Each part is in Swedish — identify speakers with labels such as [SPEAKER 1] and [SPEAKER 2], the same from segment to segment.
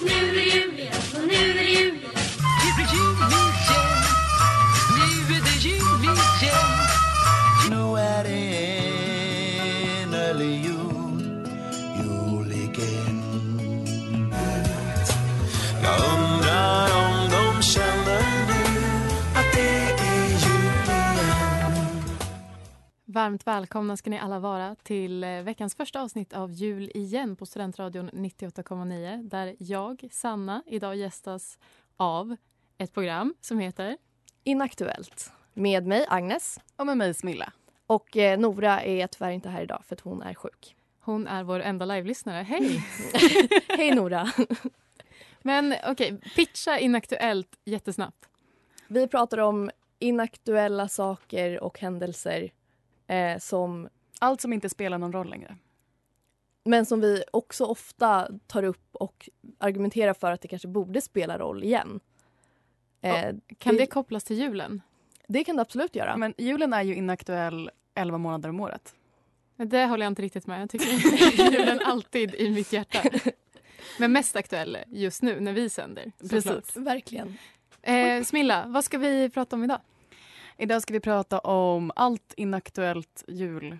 [SPEAKER 1] Nu är det jul igen, och nu är det jul igen.
[SPEAKER 2] Varmt välkomna ska ni alla vara till eh, veckans första avsnitt av Jul igen på Studentradion 98,9 där jag, Sanna, idag gästas av ett program som heter
[SPEAKER 3] Inaktuellt. Med mig Agnes
[SPEAKER 4] Och med mig Smilla.
[SPEAKER 3] och eh, Nora är tyvärr inte här idag för att hon är sjuk.
[SPEAKER 2] Hon är vår enda live-lyssnare. Hej!
[SPEAKER 3] Hej Nora!
[SPEAKER 2] Men okej, pitcha Inaktuellt jättesnabbt.
[SPEAKER 3] Vi pratar om inaktuella saker och händelser eh, som,
[SPEAKER 4] Allt som inte spelar någon roll längre.
[SPEAKER 3] men som vi också ofta tar upp och argumenterar för att det kanske borde spela roll igen. Eh,
[SPEAKER 2] Kan
[SPEAKER 3] Det-
[SPEAKER 2] det kopplas till julen?
[SPEAKER 3] Det kan det absolut göra.
[SPEAKER 4] Men julen är ju inaktuell 11 månader om året.
[SPEAKER 2] Det håller jag inte riktigt med. Jag tycker julen alltid i mitt hjärta. Men mest aktuell just nu när vi sänder. såklart.
[SPEAKER 3] Verkligen.
[SPEAKER 2] Eh, Smilla, vad ska vi prata om idag?
[SPEAKER 4] Idag ska vi prata om allt inaktuellt jul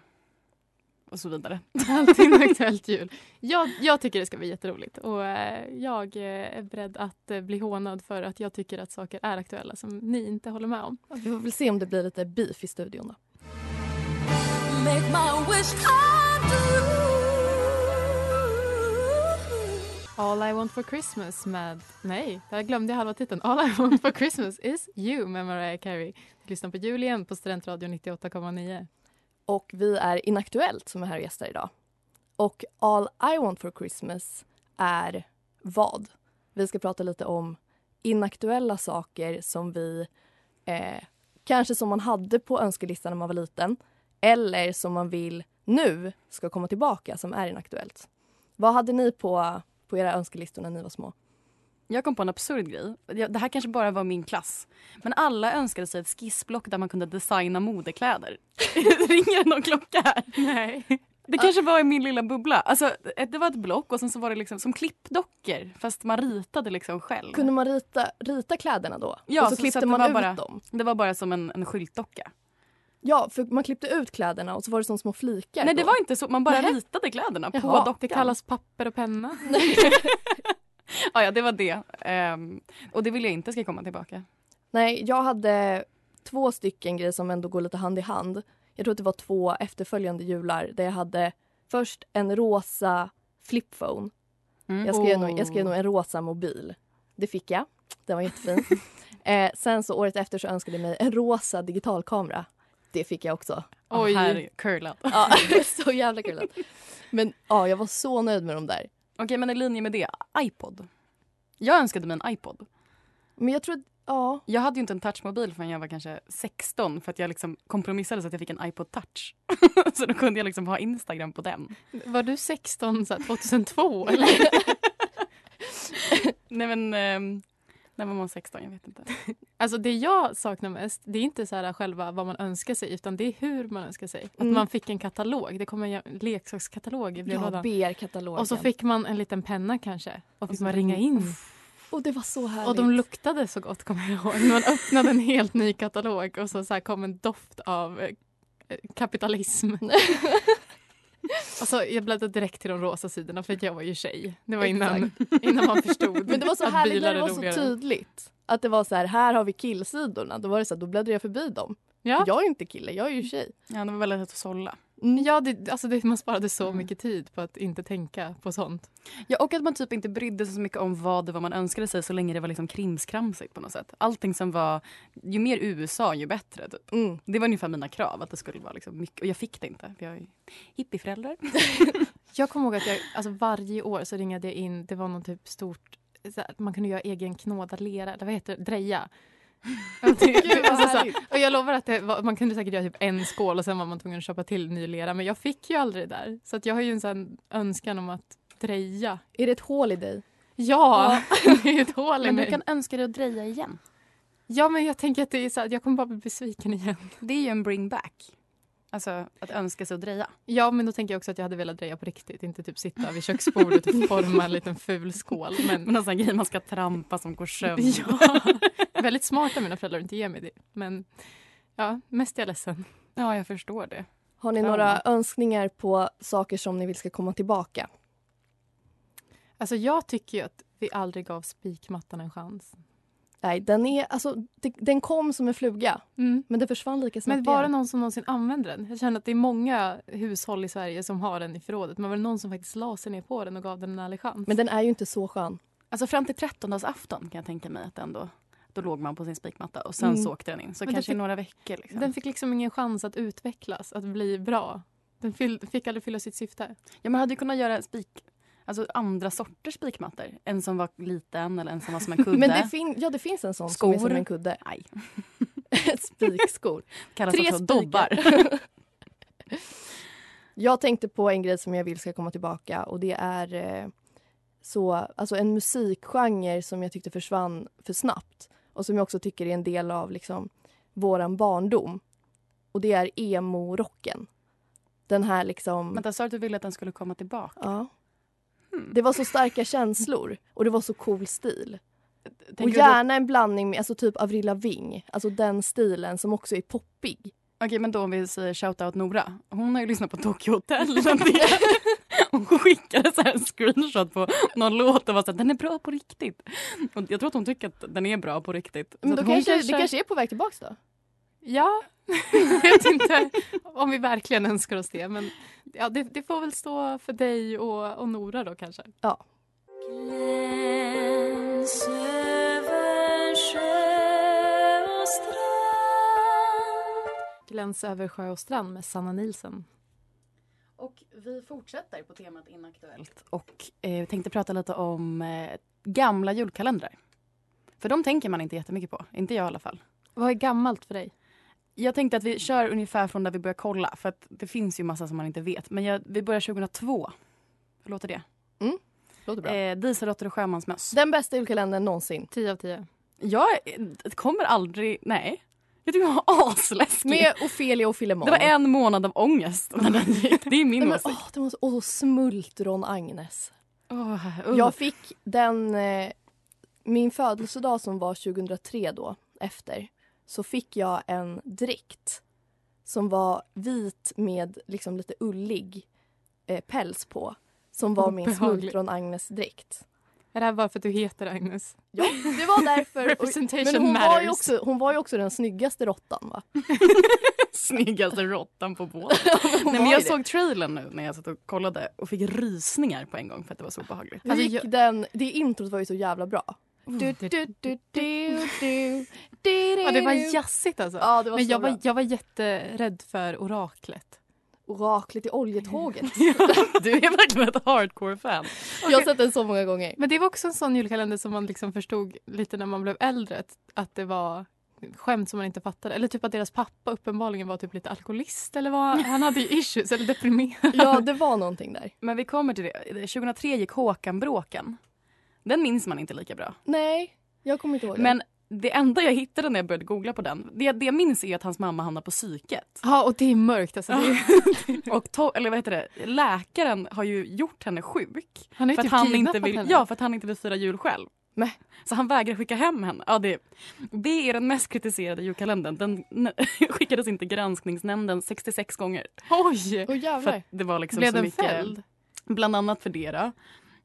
[SPEAKER 4] och så vidare.
[SPEAKER 2] Allt inaktuellt jul. Jag, jag tycker det ska bli jätteroligt och eh, jag eh, är beredd att eh, bli hånad för att jag tycker att saker är aktuella som ni inte håller med om.
[SPEAKER 3] Vi får väl se om det blir lite beef i studion då.
[SPEAKER 2] All I want for Christmas med... Nej, där glömde jag halva titeln. All I want for Christmas is you med Mariah Carey. Du lyssnar på jul igen på Studentradion 98,9.
[SPEAKER 3] Och vi är Inaktuellt som är här och gästar idag. Och All I want for Christmas är vad? Vi ska prata lite om inaktuella saker som vi eh, kanske som man hade på önskelistan när man var liten eller som man vill nu ska komma tillbaka som är inaktuellt. Vad hade ni på, på era önskelistor när ni var små?
[SPEAKER 4] Jag kom på en absurd grej. Jag- Det här kanske bara var min klass. Men alla önskade sig ett skissblock där man kunde designa modekläder. Ringer det någon klocka här?
[SPEAKER 2] Nej.
[SPEAKER 4] Det kanske var i min lilla bubbla. Alltså, ett- det var ett block och sen så var det liksom som klippdockor fast man ritade liksom själv.
[SPEAKER 3] Kunde man rita, rita kläderna då?
[SPEAKER 4] Ja,
[SPEAKER 3] och så,
[SPEAKER 4] så- så
[SPEAKER 3] klippte
[SPEAKER 4] att det
[SPEAKER 3] man
[SPEAKER 4] var
[SPEAKER 3] ut
[SPEAKER 4] bara-
[SPEAKER 3] dem?
[SPEAKER 4] Det var bara som en, en skyltdocka.
[SPEAKER 3] Ja, för man klippte ut kläderna och så var det som små flikar.
[SPEAKER 4] Nej, det
[SPEAKER 3] då.
[SPEAKER 4] var inte så. Man bara
[SPEAKER 3] Nej.
[SPEAKER 4] ritade kläderna på
[SPEAKER 3] Jaha, det
[SPEAKER 4] dockan.
[SPEAKER 2] Det kallas papper och penna.
[SPEAKER 4] Ja, ja, det var det. Ehm, och det vill jag inte ska komma tillbaka.
[SPEAKER 3] Nej, jag hade två stycken grejer som ändå går lite hand i hand. Jag tror att det var två efterföljande jular där jag hade först en rosa flipphone.
[SPEAKER 4] Mm.
[SPEAKER 3] Jag skrev,
[SPEAKER 2] Oh.
[SPEAKER 3] nog, jag skrev nog en rosa mobil. Det fick jag. Den var jättefin. eh, sen så året efter så önskade jag mig en rosa digitalkamera. Det fick jag också.
[SPEAKER 4] Och
[SPEAKER 2] Oj.
[SPEAKER 4] här curlat. Okej,
[SPEAKER 3] Ja, så jävla kul. att- Men ja, jag var så nöjd med de där.
[SPEAKER 4] men i linje med det, iPod. Jag önskade mig en iPod.
[SPEAKER 3] Men jag tror att, ja,
[SPEAKER 4] Jag hade ju inte en touchmobil förrän jag var kanske 16 för att jag liksom kompromissade så att jag fick en iPod touch. så då kunde jag liksom ha Instagram på den.
[SPEAKER 2] Var du 16 så här, 2002? Eller?
[SPEAKER 4] Nej men, ehm, när var man 16? Jag vet inte.
[SPEAKER 2] Alltså det jag saknar mest, det är inte så här själva vad man önskar sig utan det är hur man önskar sig. Att
[SPEAKER 3] Mm.
[SPEAKER 2] man fick en katalog, det kom en jä- leksakskatalog i
[SPEAKER 3] jag
[SPEAKER 2] brevlådan.
[SPEAKER 3] ber katalogen.
[SPEAKER 2] och så fick man en liten penna kanske och fick
[SPEAKER 4] så
[SPEAKER 2] man
[SPEAKER 4] fick
[SPEAKER 2] ringa
[SPEAKER 4] man-
[SPEAKER 2] in.
[SPEAKER 3] Och det var så härligt.
[SPEAKER 2] Och de luktade så gott kommer jag ihåg. När man öppnade en helt ny katalog och så, så här kom en doft av eh, kapitalism. Alltså, jag bläddrade direkt till de rosa sidorna för att jag var ju tjej. Det var innan, innan man förstod
[SPEAKER 3] Men det var så
[SPEAKER 2] att
[SPEAKER 3] härligt
[SPEAKER 2] bilar
[SPEAKER 3] när det
[SPEAKER 2] är
[SPEAKER 3] var så
[SPEAKER 2] roligare.
[SPEAKER 3] tydligt. Att det var så här, här har vi killsidorna. Då var det så här, då bläddrade jag förbi dem.
[SPEAKER 2] Ja, Mm.
[SPEAKER 3] Jag är ju inte kille, jag är ju tjej.
[SPEAKER 4] Ja, det var väldigt lätt att sålla.
[SPEAKER 2] ja det, alltså det, man sparade så
[SPEAKER 4] Mm.
[SPEAKER 2] mycket tid på att inte tänka på sånt.
[SPEAKER 4] Ja, och att man typ inte brydde sig så mycket om vad det var man önskade sig så länge det var liksom krimskramsigt på något sätt. Allting som var, ju mer USA ju bättre typ.
[SPEAKER 3] Mm.
[SPEAKER 4] Det var ungefär mina krav att det skulle vara liksom mycket, och jag fick det inte. för Jag är hippieförälder.
[SPEAKER 2] Jag kommer ihåg att jag, alltså varje år så ringade jag in, det var någon typ stort, så här, man kunde göra egen knådad lera, eller vad heter det, dreja. Och det- alltså så här, och jag lovar att det var, man kunde säkert göra typ en skål och sen var man tvungen att köpa till ny lera men jag fick ju aldrig det där. Så att jag har ju en sån önskan om att dreja.
[SPEAKER 3] Är det ett hål i dig?
[SPEAKER 2] Ja, det är ju ett hål i
[SPEAKER 4] Men du
[SPEAKER 2] mig.
[SPEAKER 4] kan önska dig att dreja igen.
[SPEAKER 2] Ja men jag tänker att det är så här, jag kommer bara bli besviken igen.
[SPEAKER 4] Det är ju en bring back. Alltså att önska sig att dreja.
[SPEAKER 2] Ja men då tänker jag också att jag hade velat dreja på riktigt, inte typ sitta vid köksbordet och typ forma en liten ful skål. Men
[SPEAKER 4] Men någon sån här grej man ska trampa som går sönder.
[SPEAKER 2] Ja, väldigt smart av mina föräldrar att inte ge mig det. Men ja, mest är jag ledsen.
[SPEAKER 4] ja, jag förstår det.
[SPEAKER 3] Har ni
[SPEAKER 4] Ja.
[SPEAKER 3] några önskningar på saker som ni vill ska komma tillbaka?
[SPEAKER 2] Alltså jag tycker ju att vi aldrig gav spikmattan en chans.
[SPEAKER 3] Nej, den, är, alltså, det, den kom som en fluga, men den försvann lika snabbt
[SPEAKER 2] Mm. Men var det
[SPEAKER 3] igen.
[SPEAKER 2] någon som någonsin använde den? Jag känner att det är många hushåll i Sverige som har den i förrådet. Men var det någon som faktiskt la sig ner på den och gav den en ärlig chans?
[SPEAKER 3] Men den är ju inte så skön.
[SPEAKER 4] Alltså fram till trettondagsafton kan jag tänka mig att ändå då låg man på sin spikmatta och sen
[SPEAKER 3] Mm.
[SPEAKER 4] så åkte den in. Så
[SPEAKER 2] Men det
[SPEAKER 4] kanske i
[SPEAKER 2] fick-
[SPEAKER 4] några veckor. Liksom.
[SPEAKER 2] den fick liksom ingen chans att utvecklas, att bli bra. Den fyll, fick aldrig fylla sitt syfte.
[SPEAKER 4] Ja, man hade ju kunnat göra spik, alltså andra sorters spikmattor. En som var liten eller en som var som en kudde.
[SPEAKER 3] Men det, fin- ja, det finns en sån som är
[SPEAKER 4] Skor.
[SPEAKER 3] som en kudde.
[SPEAKER 4] Nej,
[SPEAKER 3] Spikskor.
[SPEAKER 4] kallas
[SPEAKER 3] Tre
[SPEAKER 4] också
[SPEAKER 3] spikar.
[SPEAKER 4] dobbar.
[SPEAKER 3] Jag tänkte på en grej som jag vill ska komma tillbaka och det är eh, så, alltså en musikgenre som jag tyckte försvann för snabbt och som jag också tycker är en del av liksom, våran barndom. Och det är emo-rocken. Den här liksom...
[SPEAKER 4] Men där sa du att du ville att den skulle komma tillbaka.
[SPEAKER 3] ja.
[SPEAKER 4] Hmm.
[SPEAKER 3] Det var så starka känslor och det var så cool stil. och
[SPEAKER 4] Tänker du då-
[SPEAKER 3] gärna en blandning med alltså typ Avril Lavigne, alltså den stilen som också är poppig.
[SPEAKER 4] Okej, men då om vi säger shout-out Nora. Hon har ju lyssnat på Tokyo Hotel. en del. Hon skickade så här en screenshot på någon låt och var så här, den är bra på riktigt. Och jag tror att hon tycker att den är bra på riktigt.
[SPEAKER 3] Men
[SPEAKER 4] Så
[SPEAKER 3] då
[SPEAKER 4] att hon
[SPEAKER 3] kanske, Det kanske är på väg tillbaka då?
[SPEAKER 2] Ja, jag vet inte om vi verkligen önskar oss det. Men ja, det, det får väl stå för dig och, och Nora då kanske.
[SPEAKER 1] Gläns över sjö och strand
[SPEAKER 2] Gläns över sjö och strand med Sanna Nilsen.
[SPEAKER 4] Och vi fortsätter på temat inaktuellt och eh, tänkte prata lite om eh, gamla julkalendrar. För de tänker man inte jättemycket på, inte jag i alla fall.
[SPEAKER 2] Vad är gammalt för dig?
[SPEAKER 4] Jag tänkte att vi kör ungefär från där vi börjar kolla för att det finns ju massa som man inte vet. Men jag, vi börjar 2002. Hur låter det?
[SPEAKER 3] Låter
[SPEAKER 4] Eh, Dieselråttor och sjömansmöss.
[SPEAKER 3] Den bästa julkalendern någonsin.
[SPEAKER 2] 10 av 10.
[SPEAKER 4] Jag eh, kommer aldrig... Nej. Jag tycker det var asläskigt.
[SPEAKER 3] Med Ofelia och Filemon.
[SPEAKER 4] Det var en månad av ångest när den gick. Det är
[SPEAKER 3] Nej,
[SPEAKER 4] min
[SPEAKER 3] men,
[SPEAKER 4] åsikt.
[SPEAKER 3] åh, det var så, och så Smultron Agnes.
[SPEAKER 4] Åh, usch.
[SPEAKER 3] Jag fick den... Eh, min födelsedag som var 2003 då, efter, så fick jag en dräkt som var vit med liksom lite ullig eh, päls på. Som var min
[SPEAKER 2] Obehagligt.
[SPEAKER 3] Smultron Agnes-dräkt.
[SPEAKER 2] Är det här bara för att du heter Agnes?
[SPEAKER 3] Ja, det var därför.
[SPEAKER 2] Representation
[SPEAKER 3] men hon var, ju
[SPEAKER 2] matters.
[SPEAKER 3] också, hon var ju också den snyggaste råttan va?
[SPEAKER 4] Snyggaste råttan på båten.
[SPEAKER 3] Hon
[SPEAKER 4] Nej,
[SPEAKER 3] var
[SPEAKER 4] men
[SPEAKER 3] ju
[SPEAKER 4] jag
[SPEAKER 3] det.
[SPEAKER 4] såg trailern nu när jag satt och kollade och fick rysningar på en gång för att det var så obehagligt.
[SPEAKER 2] Alltså,
[SPEAKER 3] Hur gick den, det introt var ju så jävla bra. Du, du, du, du, du, du, du,
[SPEAKER 2] Ja, det var
[SPEAKER 3] du.
[SPEAKER 2] jazzigt alltså.
[SPEAKER 3] Ja, det var
[SPEAKER 2] men
[SPEAKER 3] så
[SPEAKER 2] jag
[SPEAKER 3] bra.
[SPEAKER 2] var, jag var jätterädd för oraklet.
[SPEAKER 3] Oraklet i oljetåget.
[SPEAKER 4] Du är verkligen ett hardcore-fan.
[SPEAKER 3] Jag har sett den så många gånger.
[SPEAKER 2] Men det var också en sån julkalender som man liksom förstod lite när man blev äldre att, att det var skämt som man inte fattade. Eller typ att deras pappa uppenbarligen var typ lite alkoholist eller vad han hade ju issues eller deprimerad.
[SPEAKER 3] Ja, det var någonting där.
[SPEAKER 4] Men vi kommer till det. 2003 gick Håkan-bråken. Den minns man inte lika bra.
[SPEAKER 3] Nej, jag kommer inte ihåg
[SPEAKER 4] Men det enda jag hittade när jag började googla på den, det, det jag minns är att hans mamma hamnar på psyket.
[SPEAKER 2] Ja, och det är mörkt alltså. Det är,
[SPEAKER 4] Och to- eller vad heter det? läkaren har ju gjort henne sjuk.
[SPEAKER 2] han har ju
[SPEAKER 4] För att,
[SPEAKER 2] typ
[SPEAKER 4] han
[SPEAKER 2] kidnappat
[SPEAKER 4] inte vill,
[SPEAKER 2] henne.
[SPEAKER 4] ja, för att han inte vill fira jul själv.
[SPEAKER 3] det. Nej.
[SPEAKER 4] Så han vägrar skicka hem henne. Ja, det, det är den mest kritiserade julkalendern. Den n- skickades inte granskningsnämnden 66 gånger.
[SPEAKER 2] Oj!
[SPEAKER 3] Åh
[SPEAKER 4] För
[SPEAKER 3] jävlar.
[SPEAKER 4] att det var liksom
[SPEAKER 2] Blev
[SPEAKER 4] så
[SPEAKER 2] den
[SPEAKER 4] mycket,
[SPEAKER 2] fälld?
[SPEAKER 4] Bland annat för det då.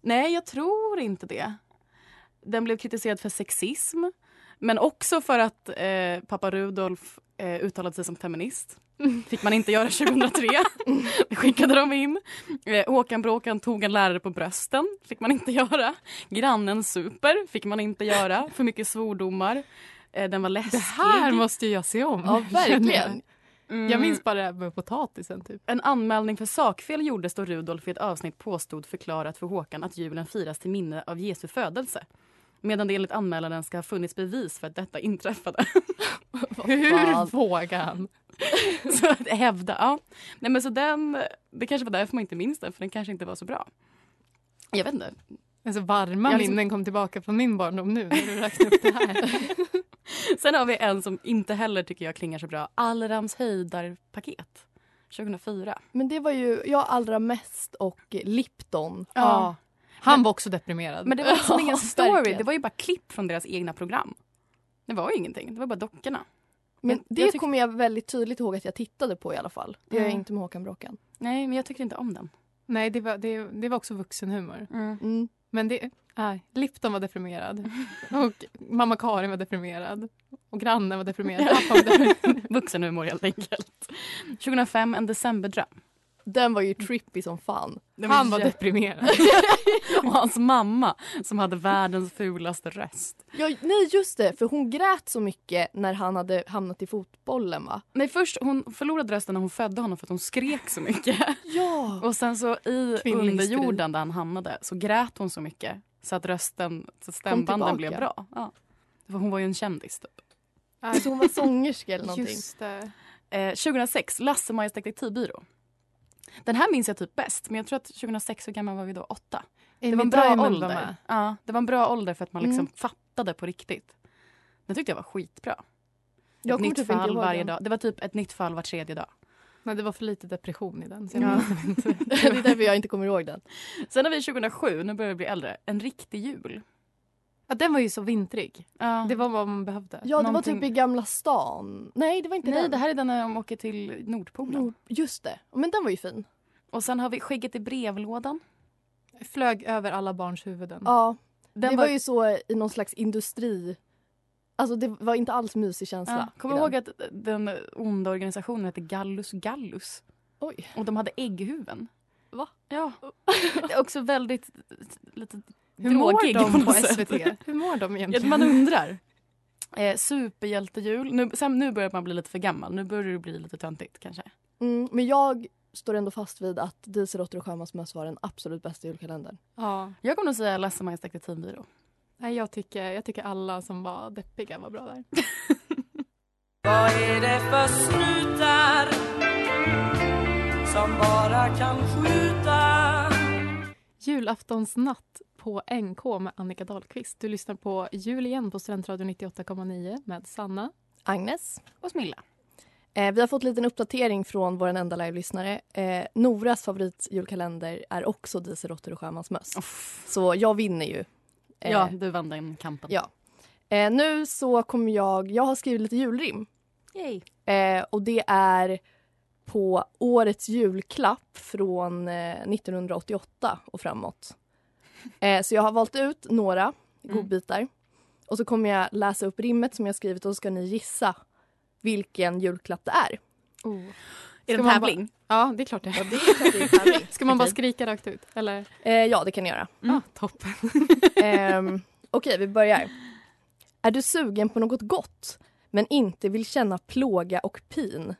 [SPEAKER 4] Nej, jag tror inte det. Den blev kritiserad för sexism. Men också för att eh, pappa Rudolf eh, uttalade sig som feminist. fick man inte göra 2003. Det skickade de in. Eh, Håkan Bråkan tog en lärare på brösten. fick man inte göra. Grannen super fick man inte göra. För mycket svordomar. Eh, den var läskig.
[SPEAKER 2] Det här måste ju jag se om.
[SPEAKER 3] Ja, verkligen.
[SPEAKER 4] Mm.
[SPEAKER 2] Jag minns bara det här med potatisen. Typ.
[SPEAKER 4] En anmälning för sakfel gjordes då Rudolf i ett avsnitt påstod förklarat för Håkan att julen firas till minne av Jesu födelse. Medan det enligt anmälaren ska ha funnits bevis för att detta inträffade.
[SPEAKER 2] Hur vågar han?
[SPEAKER 4] så att hävda. Ja. Nej, men så den, det kanske var därför man inte minns den, för den kanske inte var så bra. Jag vet inte.
[SPEAKER 2] Alltså, varma
[SPEAKER 4] Jag liksom-
[SPEAKER 2] minnen kom tillbaka från min barndom nu när du räknade upp det här.
[SPEAKER 4] Sen har vi en som inte heller tycker jag klingar så bra. Allrams höjdarpaket. 2004.
[SPEAKER 3] Men det var ju jag allra mest och Lipton.
[SPEAKER 2] Ja. Han var också deprimerad.
[SPEAKER 4] Men det var liksom ingen
[SPEAKER 3] Ja,
[SPEAKER 4] story.
[SPEAKER 3] verkligen.
[SPEAKER 4] Det var ju bara klipp från deras egna program. Det var ju ingenting. Det var bara dockorna.
[SPEAKER 3] Men
[SPEAKER 4] Jag-
[SPEAKER 3] det
[SPEAKER 4] jag tyck-
[SPEAKER 3] kommer jag väldigt tydligt ihåg att jag tittade på i alla fall. Det gör jag
[SPEAKER 4] Mm.
[SPEAKER 3] inte med Håkan Bråkan.
[SPEAKER 4] Nej, men jag tycker inte om den.
[SPEAKER 2] Nej, det var, det, det var också vuxenhumor.
[SPEAKER 3] Mm.
[SPEAKER 2] Men det, nej, Lipton var deprimerad. Och mamma Karin var deprimerad. Och grannen var deprimerad. Pappa var deprimerad.
[SPEAKER 4] Vuxenhumor helt enkelt. 2005, En decemberdröm.
[SPEAKER 3] Den var ju trippy som fan.
[SPEAKER 2] Han var deprimerad.
[SPEAKER 4] Och hans mamma som hade världens fulaste röst.
[SPEAKER 3] Ja, nej just det, för hon grät så mycket när han hade hamnat i fotbollen va?
[SPEAKER 4] Nej, först hon förlorade rösten när hon födde honom för att hon skrek så mycket.
[SPEAKER 3] Ja!
[SPEAKER 4] Och sen så i
[SPEAKER 2] Kvinnlig
[SPEAKER 4] underjorden där han hamnade så grät hon så mycket så att rösten, så att stämbanden
[SPEAKER 3] tillbaka.
[SPEAKER 4] blev bra. Ja. För hon var ju en kändis typ.
[SPEAKER 3] Så hon var sångerska eller någonting.
[SPEAKER 2] Just det.
[SPEAKER 4] Eh, 2006, Lasse-Majas detektivbyrå. Den här minns jag typ bäst, men jag tror att 2006, hur gammal var vi då? Åtta? Det var en bra ålder. Ja, det var en bra ålder för att man liksom
[SPEAKER 3] Mm.
[SPEAKER 4] fattade på riktigt. Den tyckte jag var skitbra.
[SPEAKER 3] Jag
[SPEAKER 4] ett
[SPEAKER 3] kommer
[SPEAKER 4] nytt
[SPEAKER 3] typ inte
[SPEAKER 4] fall
[SPEAKER 3] ihåg
[SPEAKER 4] varje
[SPEAKER 3] den.
[SPEAKER 4] dag. Det var typ ett nytt fall var tredje dag.
[SPEAKER 2] Nej, det var för lite depression i den. Så jag
[SPEAKER 4] Ja.
[SPEAKER 2] minns den inte.
[SPEAKER 3] det är därför jag inte kommer ihåg den.
[SPEAKER 4] Sen har vi 2007, nu börjar vi bli äldre, En riktig jul.
[SPEAKER 2] ja, den var ju så vintrig.
[SPEAKER 4] Ja.
[SPEAKER 2] Det var vad man behövde.
[SPEAKER 3] Ja, det
[SPEAKER 4] Någonting-
[SPEAKER 3] var typ i Gamla stan. Nej, det var inte
[SPEAKER 4] Nej,
[SPEAKER 3] den.
[SPEAKER 4] det här är den när de åker till Nordpolen.
[SPEAKER 3] Nord- Just det. Men den var ju
[SPEAKER 4] Mm.
[SPEAKER 3] fin.
[SPEAKER 4] Och sen har vi Skägget i brevlådan.
[SPEAKER 2] Flög över alla barns huvuden.
[SPEAKER 3] Ja.
[SPEAKER 4] Den
[SPEAKER 3] det var... ju så i någon slags industri... Alltså det var inte alls mysig
[SPEAKER 4] Ja,
[SPEAKER 3] känsla.
[SPEAKER 4] kom
[SPEAKER 3] i
[SPEAKER 4] ihåg
[SPEAKER 3] den.
[SPEAKER 4] att den onda organisationen hette Gallus Gallus.
[SPEAKER 3] Oj.
[SPEAKER 4] Och de hade ägghuven.
[SPEAKER 3] Va?
[SPEAKER 4] Ja. Det är också väldigt lite
[SPEAKER 2] Hur mår
[SPEAKER 4] drogig
[SPEAKER 2] de på
[SPEAKER 4] något sätt.
[SPEAKER 2] SVT? Hur mår de
[SPEAKER 4] Ja,
[SPEAKER 2] egentligen?
[SPEAKER 4] man undrar. Eh, superhjältejul. Nu, sen, nu börjar man bli lite för gammal. Nu börjar det bli lite töntigt kanske.
[SPEAKER 3] Mm, men jag står ändå fast vid att Dieselråttor och sjömansmöss var den absolut bästa julkalendern.
[SPEAKER 2] Ja.
[SPEAKER 4] Jag kommer nog säga Lasse-Majas detektivbyrå.
[SPEAKER 2] Nej, jag tycker, jag tycker alla som var deppiga var bra där.
[SPEAKER 1] Vad är det för snutar som bara kan skjuta?
[SPEAKER 2] Julaftonsnatt på NK med Annika Dahlqvist. Du lyssnar på Jul igen på Studentradion 98,9 med Sanna.
[SPEAKER 3] Agnes?
[SPEAKER 4] Och Smilla.
[SPEAKER 3] Eh, vi har fått en liten uppdatering från vår enda live-lyssnare. Eh, Noras favoritjulkalender är också Dieselråttor och sjömansmöss. Så jag vinner ju. Eh,
[SPEAKER 4] Ja, du vann den kampen.
[SPEAKER 3] Ja. Eh, nu så kommer jag... Jag har skrivit lite julrim.
[SPEAKER 4] Yay.
[SPEAKER 3] Eh, och det är på årets julklapp från eh, 1988 och framåt. Eh, så jag har valt ut några godbitar.
[SPEAKER 2] Mm.
[SPEAKER 3] Och så kommer jag läsa upp rimmet som jag skrivit och så ska ni gissa vilken julklapp det är.
[SPEAKER 2] Oh.
[SPEAKER 4] Är
[SPEAKER 2] Ska
[SPEAKER 4] det en
[SPEAKER 2] man
[SPEAKER 4] tävling?
[SPEAKER 2] Ja, det är klart det är. Ska man bara skrika rakt ut? Eller?
[SPEAKER 3] eh, ja, det kan ni göra.
[SPEAKER 4] Mm.
[SPEAKER 2] Ah, toppen.
[SPEAKER 3] Ehm, Okej, vi börjar. Är du sugen på något gott men inte vill känna plåga och pin?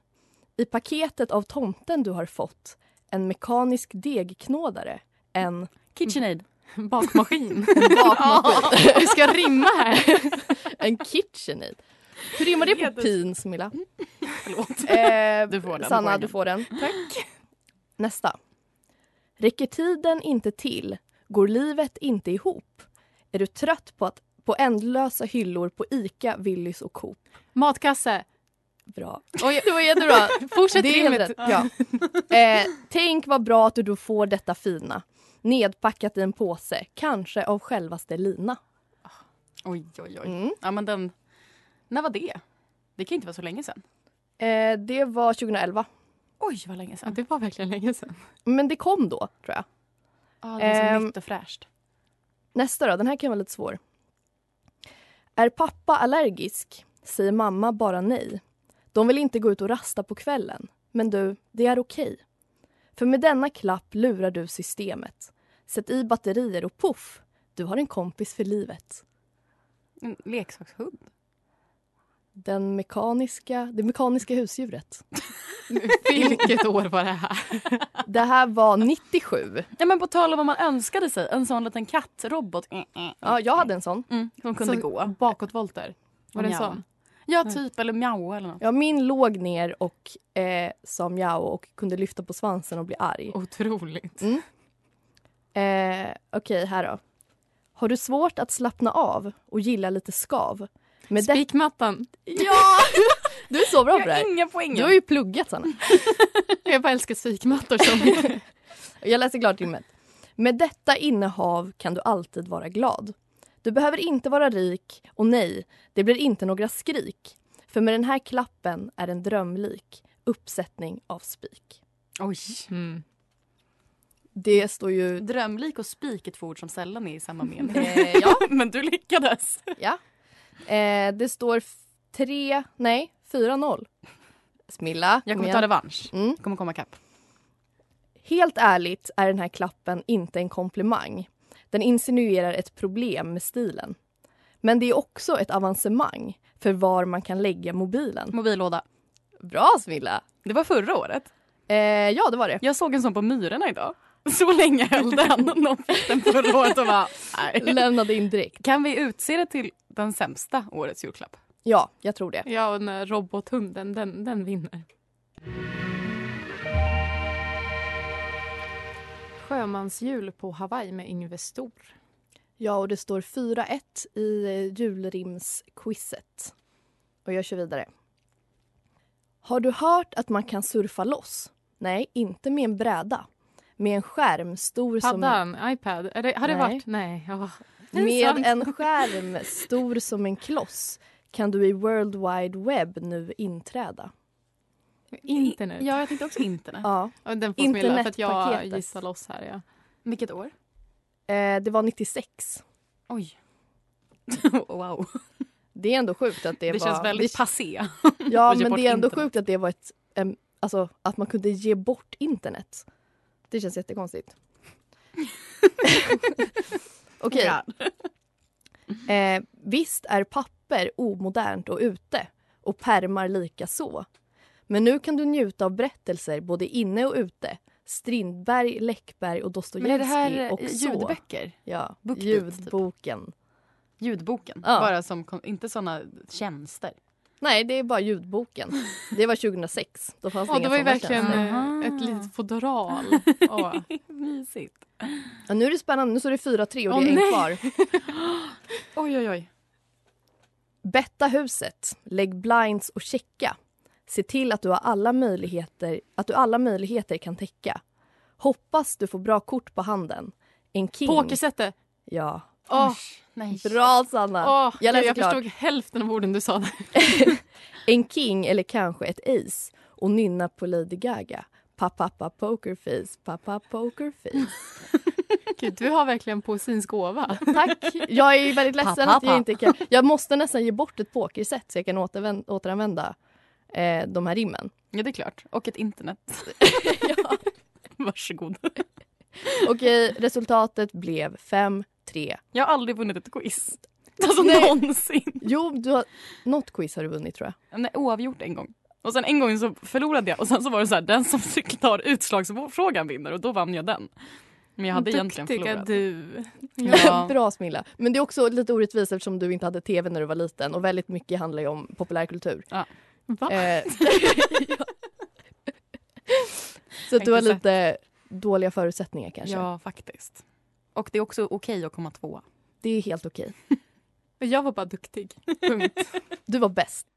[SPEAKER 3] I paketet av tomten du har fått en mekanisk degknådare, en
[SPEAKER 4] KitchenAid.
[SPEAKER 2] Bakmaskin.
[SPEAKER 3] bakmaskin,
[SPEAKER 2] Vi ska rimma här.
[SPEAKER 3] en KitchenAid. Hur rimmar det på pin, Smilla?
[SPEAKER 4] Förlåt.
[SPEAKER 3] Eh,
[SPEAKER 4] Du får den
[SPEAKER 3] Sanna,
[SPEAKER 4] poängen.
[SPEAKER 3] du får den. Tack. Nästa. Räcker tiden inte till? Går livet inte ihop? Är du trött på, att, på ändlösa hyllor på Ica, Willys och Coop?
[SPEAKER 2] Matkasse.
[SPEAKER 3] Bra.
[SPEAKER 2] Oj, det var jättebra. Fortsätt
[SPEAKER 3] Det är helt
[SPEAKER 2] rimmet.
[SPEAKER 3] rätt. Ja. Eh, tänk vad bra att du då får detta fina. Nedpackat i en påse, kanske av självaste Lina.
[SPEAKER 4] Oj, oj, oj.
[SPEAKER 3] Mm.
[SPEAKER 4] Ja, men den... När var det? Det kan ju inte vara så länge sedan.
[SPEAKER 3] Eh, det var 2011.
[SPEAKER 4] Oj, vad länge
[SPEAKER 2] Ja,
[SPEAKER 4] sedan.
[SPEAKER 2] det var verkligen länge sedan.
[SPEAKER 3] Men det kom då, tror jag.
[SPEAKER 4] Ja, det är så
[SPEAKER 3] Ehm.
[SPEAKER 4] nytt och fräscht.
[SPEAKER 3] Nästa då, den här kan vara lite svår. Är pappa allergisk säger mamma bara nej. De vill inte gå ut och rasta på kvällen. Men du, det är okej. För med denna klapp lurar du systemet. Sätt i batterier och poff, du har en kompis för livet.
[SPEAKER 4] En leksakshund.
[SPEAKER 3] Den mekaniska, det mekaniska husdjuret.
[SPEAKER 2] Vilket år var det här?
[SPEAKER 3] Det här var 97.
[SPEAKER 4] Ja, men på tal om vad man önskade sig, en sån liten kattrobot. Mm, mm,
[SPEAKER 3] Ja, jag hade en sån.
[SPEAKER 4] mm, som kunde
[SPEAKER 2] Som-
[SPEAKER 4] gå.
[SPEAKER 2] Bakåtvolter? Var det en sån?
[SPEAKER 4] Ja, typ. Eller mjaua eller något.
[SPEAKER 3] Ja, min låg ner och eh, sa mjau och kunde lyfta på svansen och bli arg.
[SPEAKER 2] Otroligt.
[SPEAKER 3] Eh, Okej, här då. Har du svårt att slappna av och gilla lite skav? Med det-
[SPEAKER 2] Spikmattan.
[SPEAKER 3] ja! Du är så bra på det här.
[SPEAKER 4] inga poäng.
[SPEAKER 3] Du har ju pluggat, Sanna.
[SPEAKER 2] Jag bara älskar spikmattor. Som...
[SPEAKER 3] Jag läser klart rimmet. Med detta innehav kan du alltid vara glad. Du behöver inte vara rik och nej, det blir inte några skrik. För med den här klappen är en drömlik uppsättning av spik.
[SPEAKER 4] Oj.
[SPEAKER 2] mm.
[SPEAKER 3] Det står ju...
[SPEAKER 4] Drömlik och spik är två ord som sällan är i samma mening.
[SPEAKER 3] Eh, ja,
[SPEAKER 4] men du lyckades.
[SPEAKER 3] ja. Eh, det står f- tre... Nej, 4-0. Smilla,
[SPEAKER 4] Jag
[SPEAKER 3] kom
[SPEAKER 4] kommer
[SPEAKER 3] igen.
[SPEAKER 4] ta revansch.
[SPEAKER 3] Mm.
[SPEAKER 4] Jag kommer komma kapp.
[SPEAKER 3] Helt ärligt är den här klappen inte en komplimang. Den insinuerar ett problem med stilen. Men det är också ett avancemang för var man kan lägga mobilen.
[SPEAKER 4] Mobillåda.
[SPEAKER 3] Bra, Smilla!
[SPEAKER 4] Det var förra året.
[SPEAKER 3] Eh, ja, det var det.
[SPEAKER 4] Jag såg en sån på Myrorna idag. Så länge höll den. Någon fick den förra året och bara, nej.
[SPEAKER 3] Lämnade in direkt.
[SPEAKER 4] Kan vi utse det till den sämsta årets julklapp?
[SPEAKER 3] Ja, jag tror det.
[SPEAKER 2] Ja, och den här robothunden, den, den vinner. Sjömansjul på Hawaii med Yngve Stor.
[SPEAKER 3] Ja, och det står 4-1 i eh, julrimsquizet. Och jag kör vidare. Har du hört att man kan surfa loss? Nej, inte med en bräda. Med en skärm stor som... en-
[SPEAKER 2] Paddan, iPad. Är det, har det
[SPEAKER 3] Nej.
[SPEAKER 2] varit? Nej. ja. Det är sant.
[SPEAKER 3] Med en skärm stor som en kloss kan du i World Wide Web nu inträda.
[SPEAKER 2] Internet.
[SPEAKER 4] Ja, jag tänkte också internet.
[SPEAKER 3] Ja.
[SPEAKER 2] Och Den får smilla för att jag
[SPEAKER 3] Internetpaketet.
[SPEAKER 2] gissar loss här. Ja.
[SPEAKER 4] Vilket år?
[SPEAKER 3] Eh, det var 96.
[SPEAKER 4] Oj. wow.
[SPEAKER 3] Det är ändå sjukt att det,
[SPEAKER 4] Det,
[SPEAKER 3] var...
[SPEAKER 4] känns väldigt passé.
[SPEAKER 3] det, ja,
[SPEAKER 4] att ge
[SPEAKER 3] men
[SPEAKER 4] bort
[SPEAKER 3] det är ändå
[SPEAKER 4] internet.
[SPEAKER 3] sjukt att det var ett... em, alltså, att man kunde ge bort internet. Det känns jättekonstigt. Okej. Eh, visst är papper omodernt och ute och pärmar lika så. Men nu kan du njuta av berättelser både inne och ute. Strindberg, Läckberg och
[SPEAKER 4] Men är det
[SPEAKER 3] Dostojevskij
[SPEAKER 4] här
[SPEAKER 3] och
[SPEAKER 4] eh,
[SPEAKER 3] så.
[SPEAKER 4] ljudböcker? typ?
[SPEAKER 3] Ja,
[SPEAKER 4] Bookbit,
[SPEAKER 3] ljudboken.
[SPEAKER 4] Ljudboken?
[SPEAKER 3] Ja.
[SPEAKER 4] Bara som, kon- inte såna tjänster?
[SPEAKER 3] Nej, det är bara ljudboken. Det var 2006. Då fanns det
[SPEAKER 2] Åh,
[SPEAKER 3] inga
[SPEAKER 2] det var ju
[SPEAKER 3] såna
[SPEAKER 2] verkligen
[SPEAKER 3] tjänster.
[SPEAKER 4] tjänster.
[SPEAKER 2] eh, ett litet fodral. Åh.
[SPEAKER 4] Mysigt.
[SPEAKER 3] Ja, nu är det spännande. Nu står det 4-3 och
[SPEAKER 2] Åh,
[SPEAKER 3] det är en
[SPEAKER 2] nej.
[SPEAKER 3] kvar.
[SPEAKER 4] Oj, oj, oj.
[SPEAKER 3] Betta huset, lägg blinds och checka. Se till att du har alla möjligheter, att du alla möjligheter kan täcka. Hoppas du får bra kort på handen. En king.
[SPEAKER 2] Pokersätte.
[SPEAKER 3] Ja.
[SPEAKER 2] Åh,
[SPEAKER 4] Nej.
[SPEAKER 3] Bra Sanna!
[SPEAKER 2] åh,
[SPEAKER 3] jag läser
[SPEAKER 2] jag
[SPEAKER 3] klart.
[SPEAKER 2] förstod hälften av orden du sa. Där.
[SPEAKER 3] En king eller kanske ett ace och nynna på Lady Gaga. Pappa pokerface, pappa pokerface.
[SPEAKER 2] Gud, du har verkligen poesins gåva.
[SPEAKER 3] Tack! Jag är väldigt ledsen
[SPEAKER 4] Pappa,
[SPEAKER 3] att jag inte kan... Jag måste nästan ge bort ett pokerset så jag kan återvän- återanvända eh, de här rimmen.
[SPEAKER 4] Ja, det är klart. Och ett internet.
[SPEAKER 3] Ja.
[SPEAKER 4] Varsågod.
[SPEAKER 3] Okej, resultatet blev 5-3.
[SPEAKER 4] Jag har aldrig vunnit ett quiz. Alltså
[SPEAKER 3] Nej.
[SPEAKER 4] någonsin.
[SPEAKER 3] Jo, du har... något quiz har du vunnit tror jag.
[SPEAKER 4] Nej, oavgjort en gång. Och sen en gång så förlorade jag och sen så var det så här, den som tar utslagsfrågan vinner och då vann jag den. Men jag hade egentligen förlorat.
[SPEAKER 2] du.
[SPEAKER 4] Ja.
[SPEAKER 3] Bra Smilla. Men det är också lite orättvist eftersom du inte hade tv när du var liten och väldigt mycket handlar ju om populärkultur.
[SPEAKER 2] Va?
[SPEAKER 3] Eh, ja. Så att du har
[SPEAKER 4] Tänkte så.
[SPEAKER 3] lite dåliga förutsättningar kanske.
[SPEAKER 4] Ja, faktiskt. Och det är också okej att komma tvåa.
[SPEAKER 3] Det är helt okej.
[SPEAKER 2] Jag var bara duktig. Punkt.
[SPEAKER 3] Du var bäst.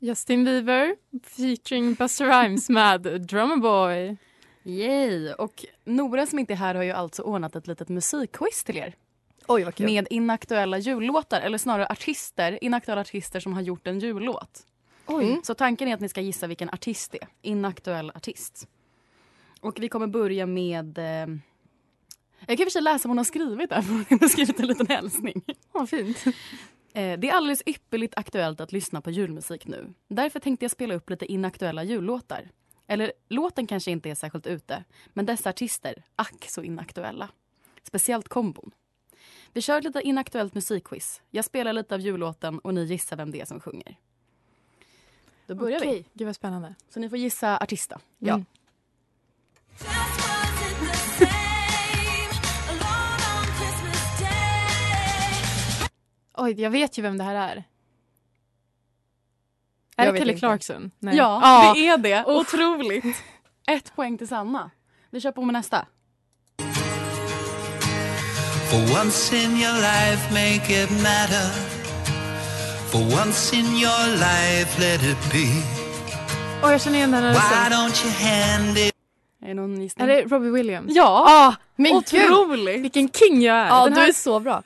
[SPEAKER 2] Justin Bieber featuring Busta Rhymes med Drummer Boy.
[SPEAKER 4] Yay! Och Nora som inte är här har ju alltså ordnat ett litet musikquiz till er.
[SPEAKER 3] Oj, vad kul.
[SPEAKER 4] Med inaktuella jullåtar, eller snarare artister, inaktuella artister som har gjort en jullåt. Mm.
[SPEAKER 3] Oj.
[SPEAKER 4] Så tanken är att ni ska gissa vilken artist det är. Inaktuell artist. Och vi kommer börja med... Eh, jag kan i och för sig läsa vad hon har skrivit där, för hon har skrivit en liten hälsning.
[SPEAKER 2] Vad fint.
[SPEAKER 4] Eh, Det är alldeles ypperligt aktuellt att lyssna på julmusik nu. Därför tänkte jag spela upp lite inaktuella jullåtar. Eller låten kanske inte är särskilt ute, men dessa artister, ack så inaktuella. Speciellt kombon. Vi kör lite inaktuellt musikquiz. Jag spelar lite av jullåten och ni gissar vem det är som sjunger. Då börjar vi.
[SPEAKER 2] Okej, Gud vad spännande.
[SPEAKER 4] Så ni får gissa artista.
[SPEAKER 2] Ja.
[SPEAKER 3] Mm.
[SPEAKER 2] Oj, jag vet ju vem det här är.
[SPEAKER 3] Jag
[SPEAKER 2] Är det
[SPEAKER 3] vet
[SPEAKER 2] Kelly
[SPEAKER 3] inte.
[SPEAKER 2] Clarkson? Nej.
[SPEAKER 4] Ja,
[SPEAKER 2] Ah,
[SPEAKER 4] det är det. Otroligt. Ett poäng till Sanna. Vi kör på med nästa.
[SPEAKER 5] For once in your life, make it matter. For once in your life, let it be.
[SPEAKER 2] Oj, jag känner igen den här
[SPEAKER 5] Why
[SPEAKER 2] rösten.
[SPEAKER 5] don't you hand it?
[SPEAKER 4] Är det någon
[SPEAKER 2] Är
[SPEAKER 4] gissning?
[SPEAKER 2] det Robbie Williams?
[SPEAKER 4] Ja!
[SPEAKER 2] Ah,
[SPEAKER 3] Men gud!
[SPEAKER 4] Otroligt!
[SPEAKER 2] vilken king jag är!
[SPEAKER 3] Ja,
[SPEAKER 2] den
[SPEAKER 3] du
[SPEAKER 2] här...
[SPEAKER 3] är så bra.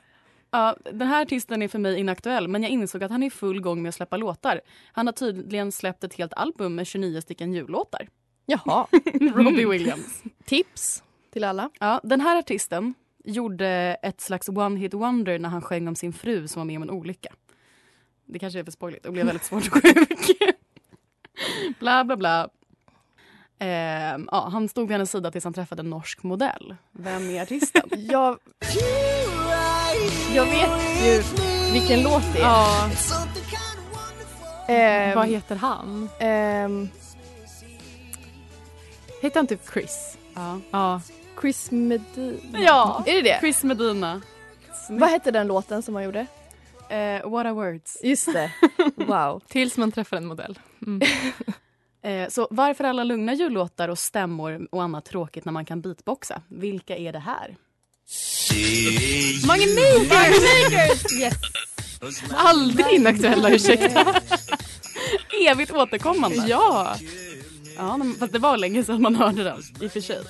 [SPEAKER 4] Ja, den här artisten är för mig inaktuell men jag insåg att han är i full gång med att släppa låtar. Han har tydligen släppt ett helt album med 29 stycken jullåtar.
[SPEAKER 3] Jaha.
[SPEAKER 2] Mm.
[SPEAKER 4] Robbie Williams.
[SPEAKER 3] Tips till alla.
[SPEAKER 4] Ja, den här artisten gjorde ett slags one-hit wonder när han sjöng om sin fru som var med om en olycka. Det kanske är för spoiligt och blev väldigt svårt sjuk. bla, bla, bla. Ehm, ja, han stod vid hennes sida tills han träffade en norsk modell. Vem är artisten?
[SPEAKER 3] Jag, jag vet ju vilken låt det är.
[SPEAKER 2] Ja,
[SPEAKER 3] Ehm,
[SPEAKER 2] vad heter han?
[SPEAKER 3] ehm,
[SPEAKER 2] Heter han typ Chris?
[SPEAKER 4] ja.
[SPEAKER 2] Ja.
[SPEAKER 3] Chris Medina.
[SPEAKER 4] ja,
[SPEAKER 3] Är det det?
[SPEAKER 4] Chris Medina.
[SPEAKER 3] Vad hette den låten som han gjorde?
[SPEAKER 4] Eh, what are words?
[SPEAKER 3] Just det. Wow.
[SPEAKER 2] Tills man träffar en modell. Mm.
[SPEAKER 4] Eh, så varför alla lugna jullåtar och stämmor och annat tråkigt när man kan beatboxa? Vilka är det här?
[SPEAKER 3] Yes.
[SPEAKER 4] Aldrig inaktuella, ursäkta. Evigt återkommande.
[SPEAKER 2] Ja!
[SPEAKER 4] ja men, fast det var länge sedan man hörde den, i och för sig.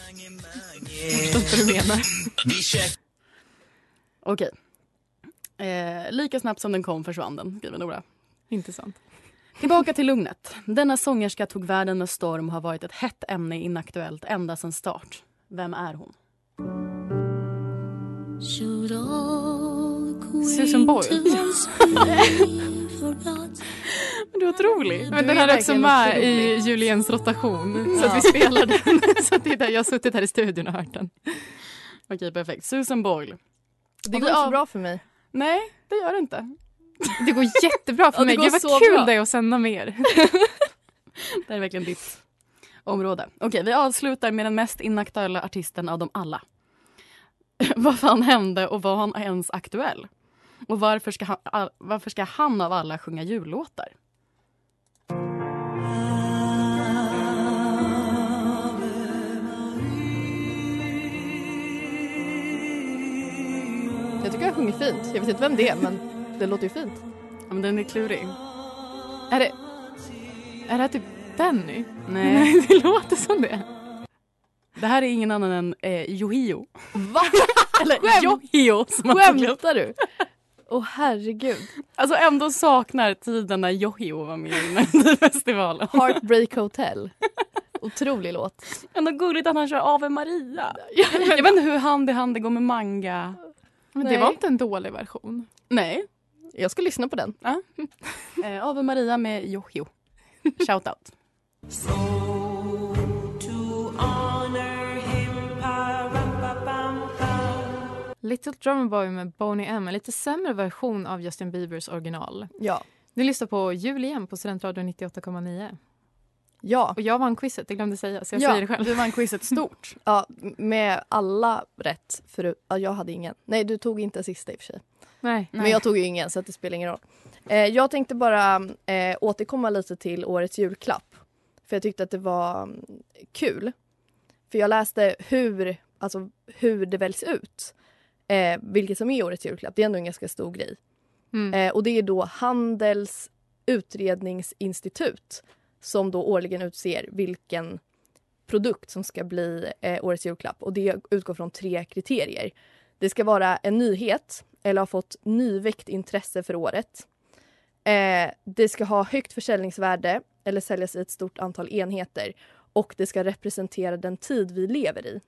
[SPEAKER 4] Jag förstår inte vad du menar. Okej. Eh, lika snabbt som den kom försvann den, skriver Nora.
[SPEAKER 2] Inte sant.
[SPEAKER 4] Tillbaka till lugnet. Denna sångerska tog världen med storm och har varit ett hett ämne i Inaktuellt ända sedan start. Vem är hon?
[SPEAKER 2] Susan Boyle.
[SPEAKER 4] Du är otrolig.
[SPEAKER 2] Men
[SPEAKER 3] Du
[SPEAKER 2] den
[SPEAKER 3] är
[SPEAKER 2] är också
[SPEAKER 3] verkligen
[SPEAKER 2] med
[SPEAKER 3] otrolig.
[SPEAKER 2] i Juliens rotation. Så att vi spelar den. Så att det är där jag har suttit här i studion och hört den.
[SPEAKER 4] Okej, perfekt. Susan Boyle.
[SPEAKER 3] Det går inte så bra för mig.
[SPEAKER 4] Nej, det gör det inte.
[SPEAKER 2] Det går jättebra
[SPEAKER 3] Ja,
[SPEAKER 2] för
[SPEAKER 3] det
[SPEAKER 2] mig.
[SPEAKER 3] går
[SPEAKER 2] Gud
[SPEAKER 3] så
[SPEAKER 2] vad kul
[SPEAKER 3] bra.
[SPEAKER 2] det är att sända med er.
[SPEAKER 4] Det är verkligen ditt område. Okej, vi avslutar med den mest inaktuella artisten av dem alla. vad fan hände och var han ens aktuell? Och varför ska han, all, varför ska han av alla sjunga jullåtar?
[SPEAKER 3] Jag tycker han sjunger fint. Jag vet inte vem det är, men det låter ju fint.
[SPEAKER 4] Ja, men den är klurig.
[SPEAKER 2] Är det, är det här typ Benny?
[SPEAKER 4] Nej.
[SPEAKER 2] Det låter som det.
[SPEAKER 4] Det här är ingen annan än eh, Yohio.
[SPEAKER 3] Va?
[SPEAKER 4] Eller
[SPEAKER 3] Skämt-
[SPEAKER 4] Yohio som man tydligen-
[SPEAKER 3] Skämtar du? Åh herregud.
[SPEAKER 4] Alltså ändå saknar tiden när Yohio var med i Melodifestivalen.
[SPEAKER 3] Heartbreak Hotel. Otrolig låt.
[SPEAKER 4] Ändå gulligt att han kör Ave Maria. Jag vet inte hur hand i hand det går med manga.
[SPEAKER 2] Men
[SPEAKER 3] Nej.
[SPEAKER 2] det var inte en dålig version.
[SPEAKER 4] Nej.
[SPEAKER 3] Jag ska lyssna på den.
[SPEAKER 4] Eh, Ave Maria med Yohio. Shout out.
[SPEAKER 2] Little Drummer Boy med Boney M. En lite sämre version av Justin Biebers original.
[SPEAKER 3] Ja.
[SPEAKER 2] Ni lyssnar på Jul igen på Studentradion 98,9.
[SPEAKER 3] Ja.
[SPEAKER 2] Och jag vann quizet, det glömde säga så jag
[SPEAKER 3] Ja,
[SPEAKER 2] säger det själv.
[SPEAKER 4] Du vann quizet stort.
[SPEAKER 3] ja. Med alla rätt. För, ja, jag hade ingen. Nej, du tog inte sista i och för sig.
[SPEAKER 2] Nej.
[SPEAKER 3] Men jag tog ju ingen, så att det spelar ingen roll. Eh, jag tänkte bara eh, återkomma lite till årets julklapp. För jag tyckte att det var mm, kul. För jag läste hur, alltså, hur det väljs ut. Eh, vilket som är årets julklapp. Det är ändå en ganska stor grej.
[SPEAKER 2] Mm.
[SPEAKER 3] Eh, och det är då Handels utredningsinstitut som då årligen utser vilken produkt som ska bli eh, årets julklapp och det utgår från tre kriterier. Det ska vara en nyhet eller ha fått nyväckt intresse för året. Eh, det ska ha högt försäljningsvärde eller säljas i ett stort antal enheter och det ska representera den tid vi lever i.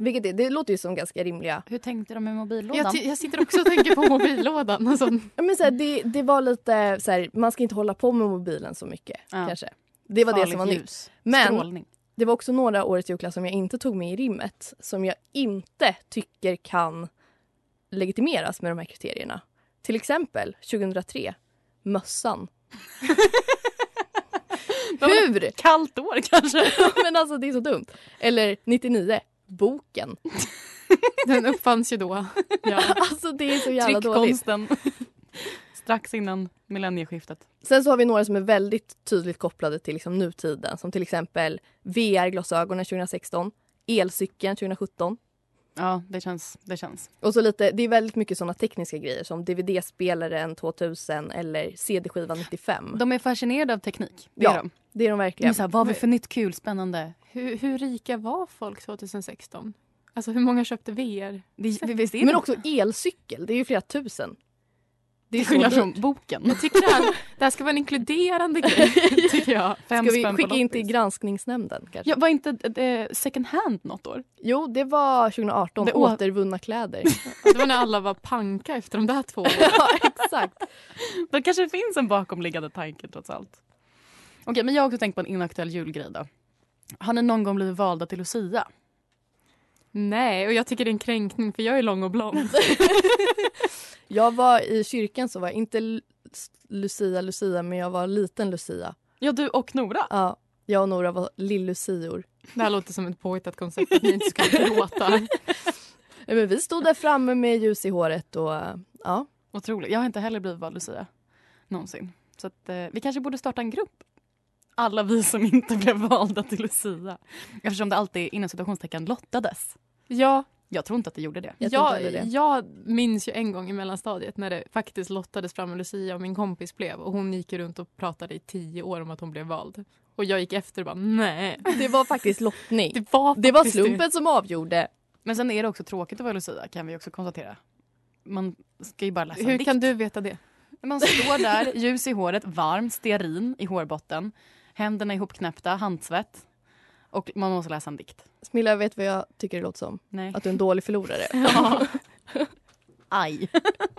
[SPEAKER 3] Vilket är, det låter ju som ganska rimliga...
[SPEAKER 4] Hur tänkte de med mobillådan?
[SPEAKER 2] Jag, ti- jag sitter också och tänker på mobillådan. Alltså,
[SPEAKER 3] Ja, men så här, det, det var lite så här, man ska inte hålla på med mobilen så mycket kanske. Det var det
[SPEAKER 4] Farligt
[SPEAKER 3] som var nytt.
[SPEAKER 4] ljus.
[SPEAKER 3] Men
[SPEAKER 4] Strålning.
[SPEAKER 3] det var också några årets julklapp som jag inte tog med i rimmet som jag inte tycker kan legitimeras med de här kriterierna. Till exempel 2003, mössan. Hur?
[SPEAKER 4] Kallt år kanske.
[SPEAKER 3] men alltså det är så dumt. Eller 99, boken.
[SPEAKER 2] den uppfanns ju då. Ja.
[SPEAKER 3] Alltså det är så jävla dåligt.
[SPEAKER 4] Tryckkonsten. Strax innan millennieskiftet.
[SPEAKER 3] Sen så har vi några som är väldigt tydligt kopplade till liksom nutiden som till exempel VR-glasögonen 2016, elcykeln 2017.
[SPEAKER 4] Ja, det känns. Det känns.
[SPEAKER 3] Och så lite, det är väldigt mycket såna tekniska grejer som DVD-spelaren 2000 eller CD-skivan 95.
[SPEAKER 4] De är fascinerade av teknik. Det
[SPEAKER 3] Ja,
[SPEAKER 4] är de.
[SPEAKER 3] det är de
[SPEAKER 4] De är
[SPEAKER 3] verkligen.
[SPEAKER 4] så här, vad har vi för nytt kul, spännande?
[SPEAKER 2] Hur, hur rika var folk 2016? Alltså hur många köpte VR?
[SPEAKER 4] Vi, vi, visst är
[SPEAKER 3] Men
[SPEAKER 4] det-
[SPEAKER 3] också elcykel, det är ju flera tusen.
[SPEAKER 4] det är
[SPEAKER 3] så
[SPEAKER 4] skillnad
[SPEAKER 3] dyrt.
[SPEAKER 4] från boken.
[SPEAKER 2] Jag tycker det här, det här ska vara en inkluderande grej. Tycker jag.
[SPEAKER 4] Fem
[SPEAKER 3] Ska vi
[SPEAKER 4] spänn på
[SPEAKER 3] skicka in till
[SPEAKER 4] loppis.
[SPEAKER 3] granskningsnämnden kanske?
[SPEAKER 4] Ja, var inte eh, second hand något år?
[SPEAKER 3] Jo, det var 2018,
[SPEAKER 4] Det å-
[SPEAKER 3] återvunna kläder.
[SPEAKER 2] Det var när alla var panka efter de där två åren.
[SPEAKER 3] ja, exakt.
[SPEAKER 4] Då kanske det finns en bakomliggande tanke trots allt. Okej, men jag har också tänkt på en inaktuell julgrej då. Har ni någon gång blivit valda till Lucia?
[SPEAKER 2] Nej, och jag tycker det är en kränkning för jag är lång och blond.
[SPEAKER 3] Jag var i kyrkan så var jag inte Lu- Lucia Lucia men jag var liten Lucia.
[SPEAKER 4] Ja, du och Nora.
[SPEAKER 3] Ja, jag och Nora var lill-Lucior.
[SPEAKER 2] Det här låter som ett påhittat koncept att ni inte ska gråta.
[SPEAKER 3] Ja, Men vi stod där framme med ljus i håret och ja.
[SPEAKER 4] Otroligt. Jag har inte heller blivit vald Lucia någonsin. Så att, eh, vi kanske borde starta en grupp. Alla vi som inte blev valda till Lucia. Eftersom det alltid inom citationstecken lottades.
[SPEAKER 2] Ja,
[SPEAKER 4] Jag tror inte att det gjorde det.
[SPEAKER 3] Jag
[SPEAKER 2] jag,
[SPEAKER 3] tror inte heller
[SPEAKER 2] jag,
[SPEAKER 3] det.
[SPEAKER 2] minns ju en gång i mellanstadiet när det faktiskt lottades fram en Lucia och min kompis blev och hon gick ju runt och pratade i tio år om att hon blev vald. Och jag gick efter och bara nej.
[SPEAKER 3] Det var faktiskt lottning.
[SPEAKER 2] Det var,
[SPEAKER 3] Det var
[SPEAKER 2] faktiskt
[SPEAKER 3] slumpen som avgjorde.
[SPEAKER 4] Men sen är det också tråkigt att vara Lucia kan vi också konstatera. Man ska ju bara läsa en
[SPEAKER 2] Hur
[SPEAKER 4] dikt.
[SPEAKER 2] kan du veta det?
[SPEAKER 4] Man står där, ljus i håret, varm, stearin i hårbotten. Händerna ihopknäppta, handsvett. Och man måste läsa en dikt.
[SPEAKER 3] Smilla, vet vad jag tycker det låter som?
[SPEAKER 4] Nej.
[SPEAKER 3] Att du är en dålig förlorare.
[SPEAKER 4] Aj.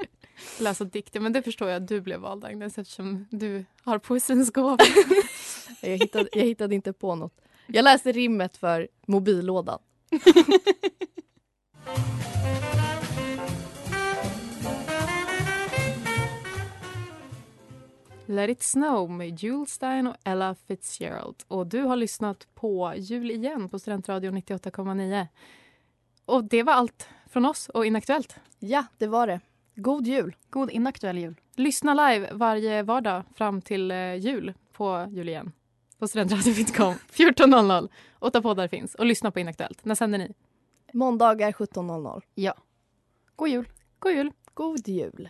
[SPEAKER 2] Läsa dikter, men det förstår jag att du blev vald Agnes eftersom du har poesins gåva.
[SPEAKER 3] Jag hittade, jag hittade inte på något. Jag läste rimmet för mobillådan.
[SPEAKER 2] Let it snow med Jules Stein och Ella Fitzgerald. Och du har lyssnat på Jul igen på Studentradion 98,9. Och det var allt från oss och Inaktuellt.
[SPEAKER 3] Ja, det var det. God jul.
[SPEAKER 4] God inaktuell jul.
[SPEAKER 2] Lyssna live varje vardag fram till eh, jul på jul igen. På studentradion.com 14.00. Åtta poddar finns. Och lyssna på Inaktuellt. När sänder ni?
[SPEAKER 3] Måndagar 17.00.
[SPEAKER 4] God jul.
[SPEAKER 2] God jul!
[SPEAKER 3] God jul.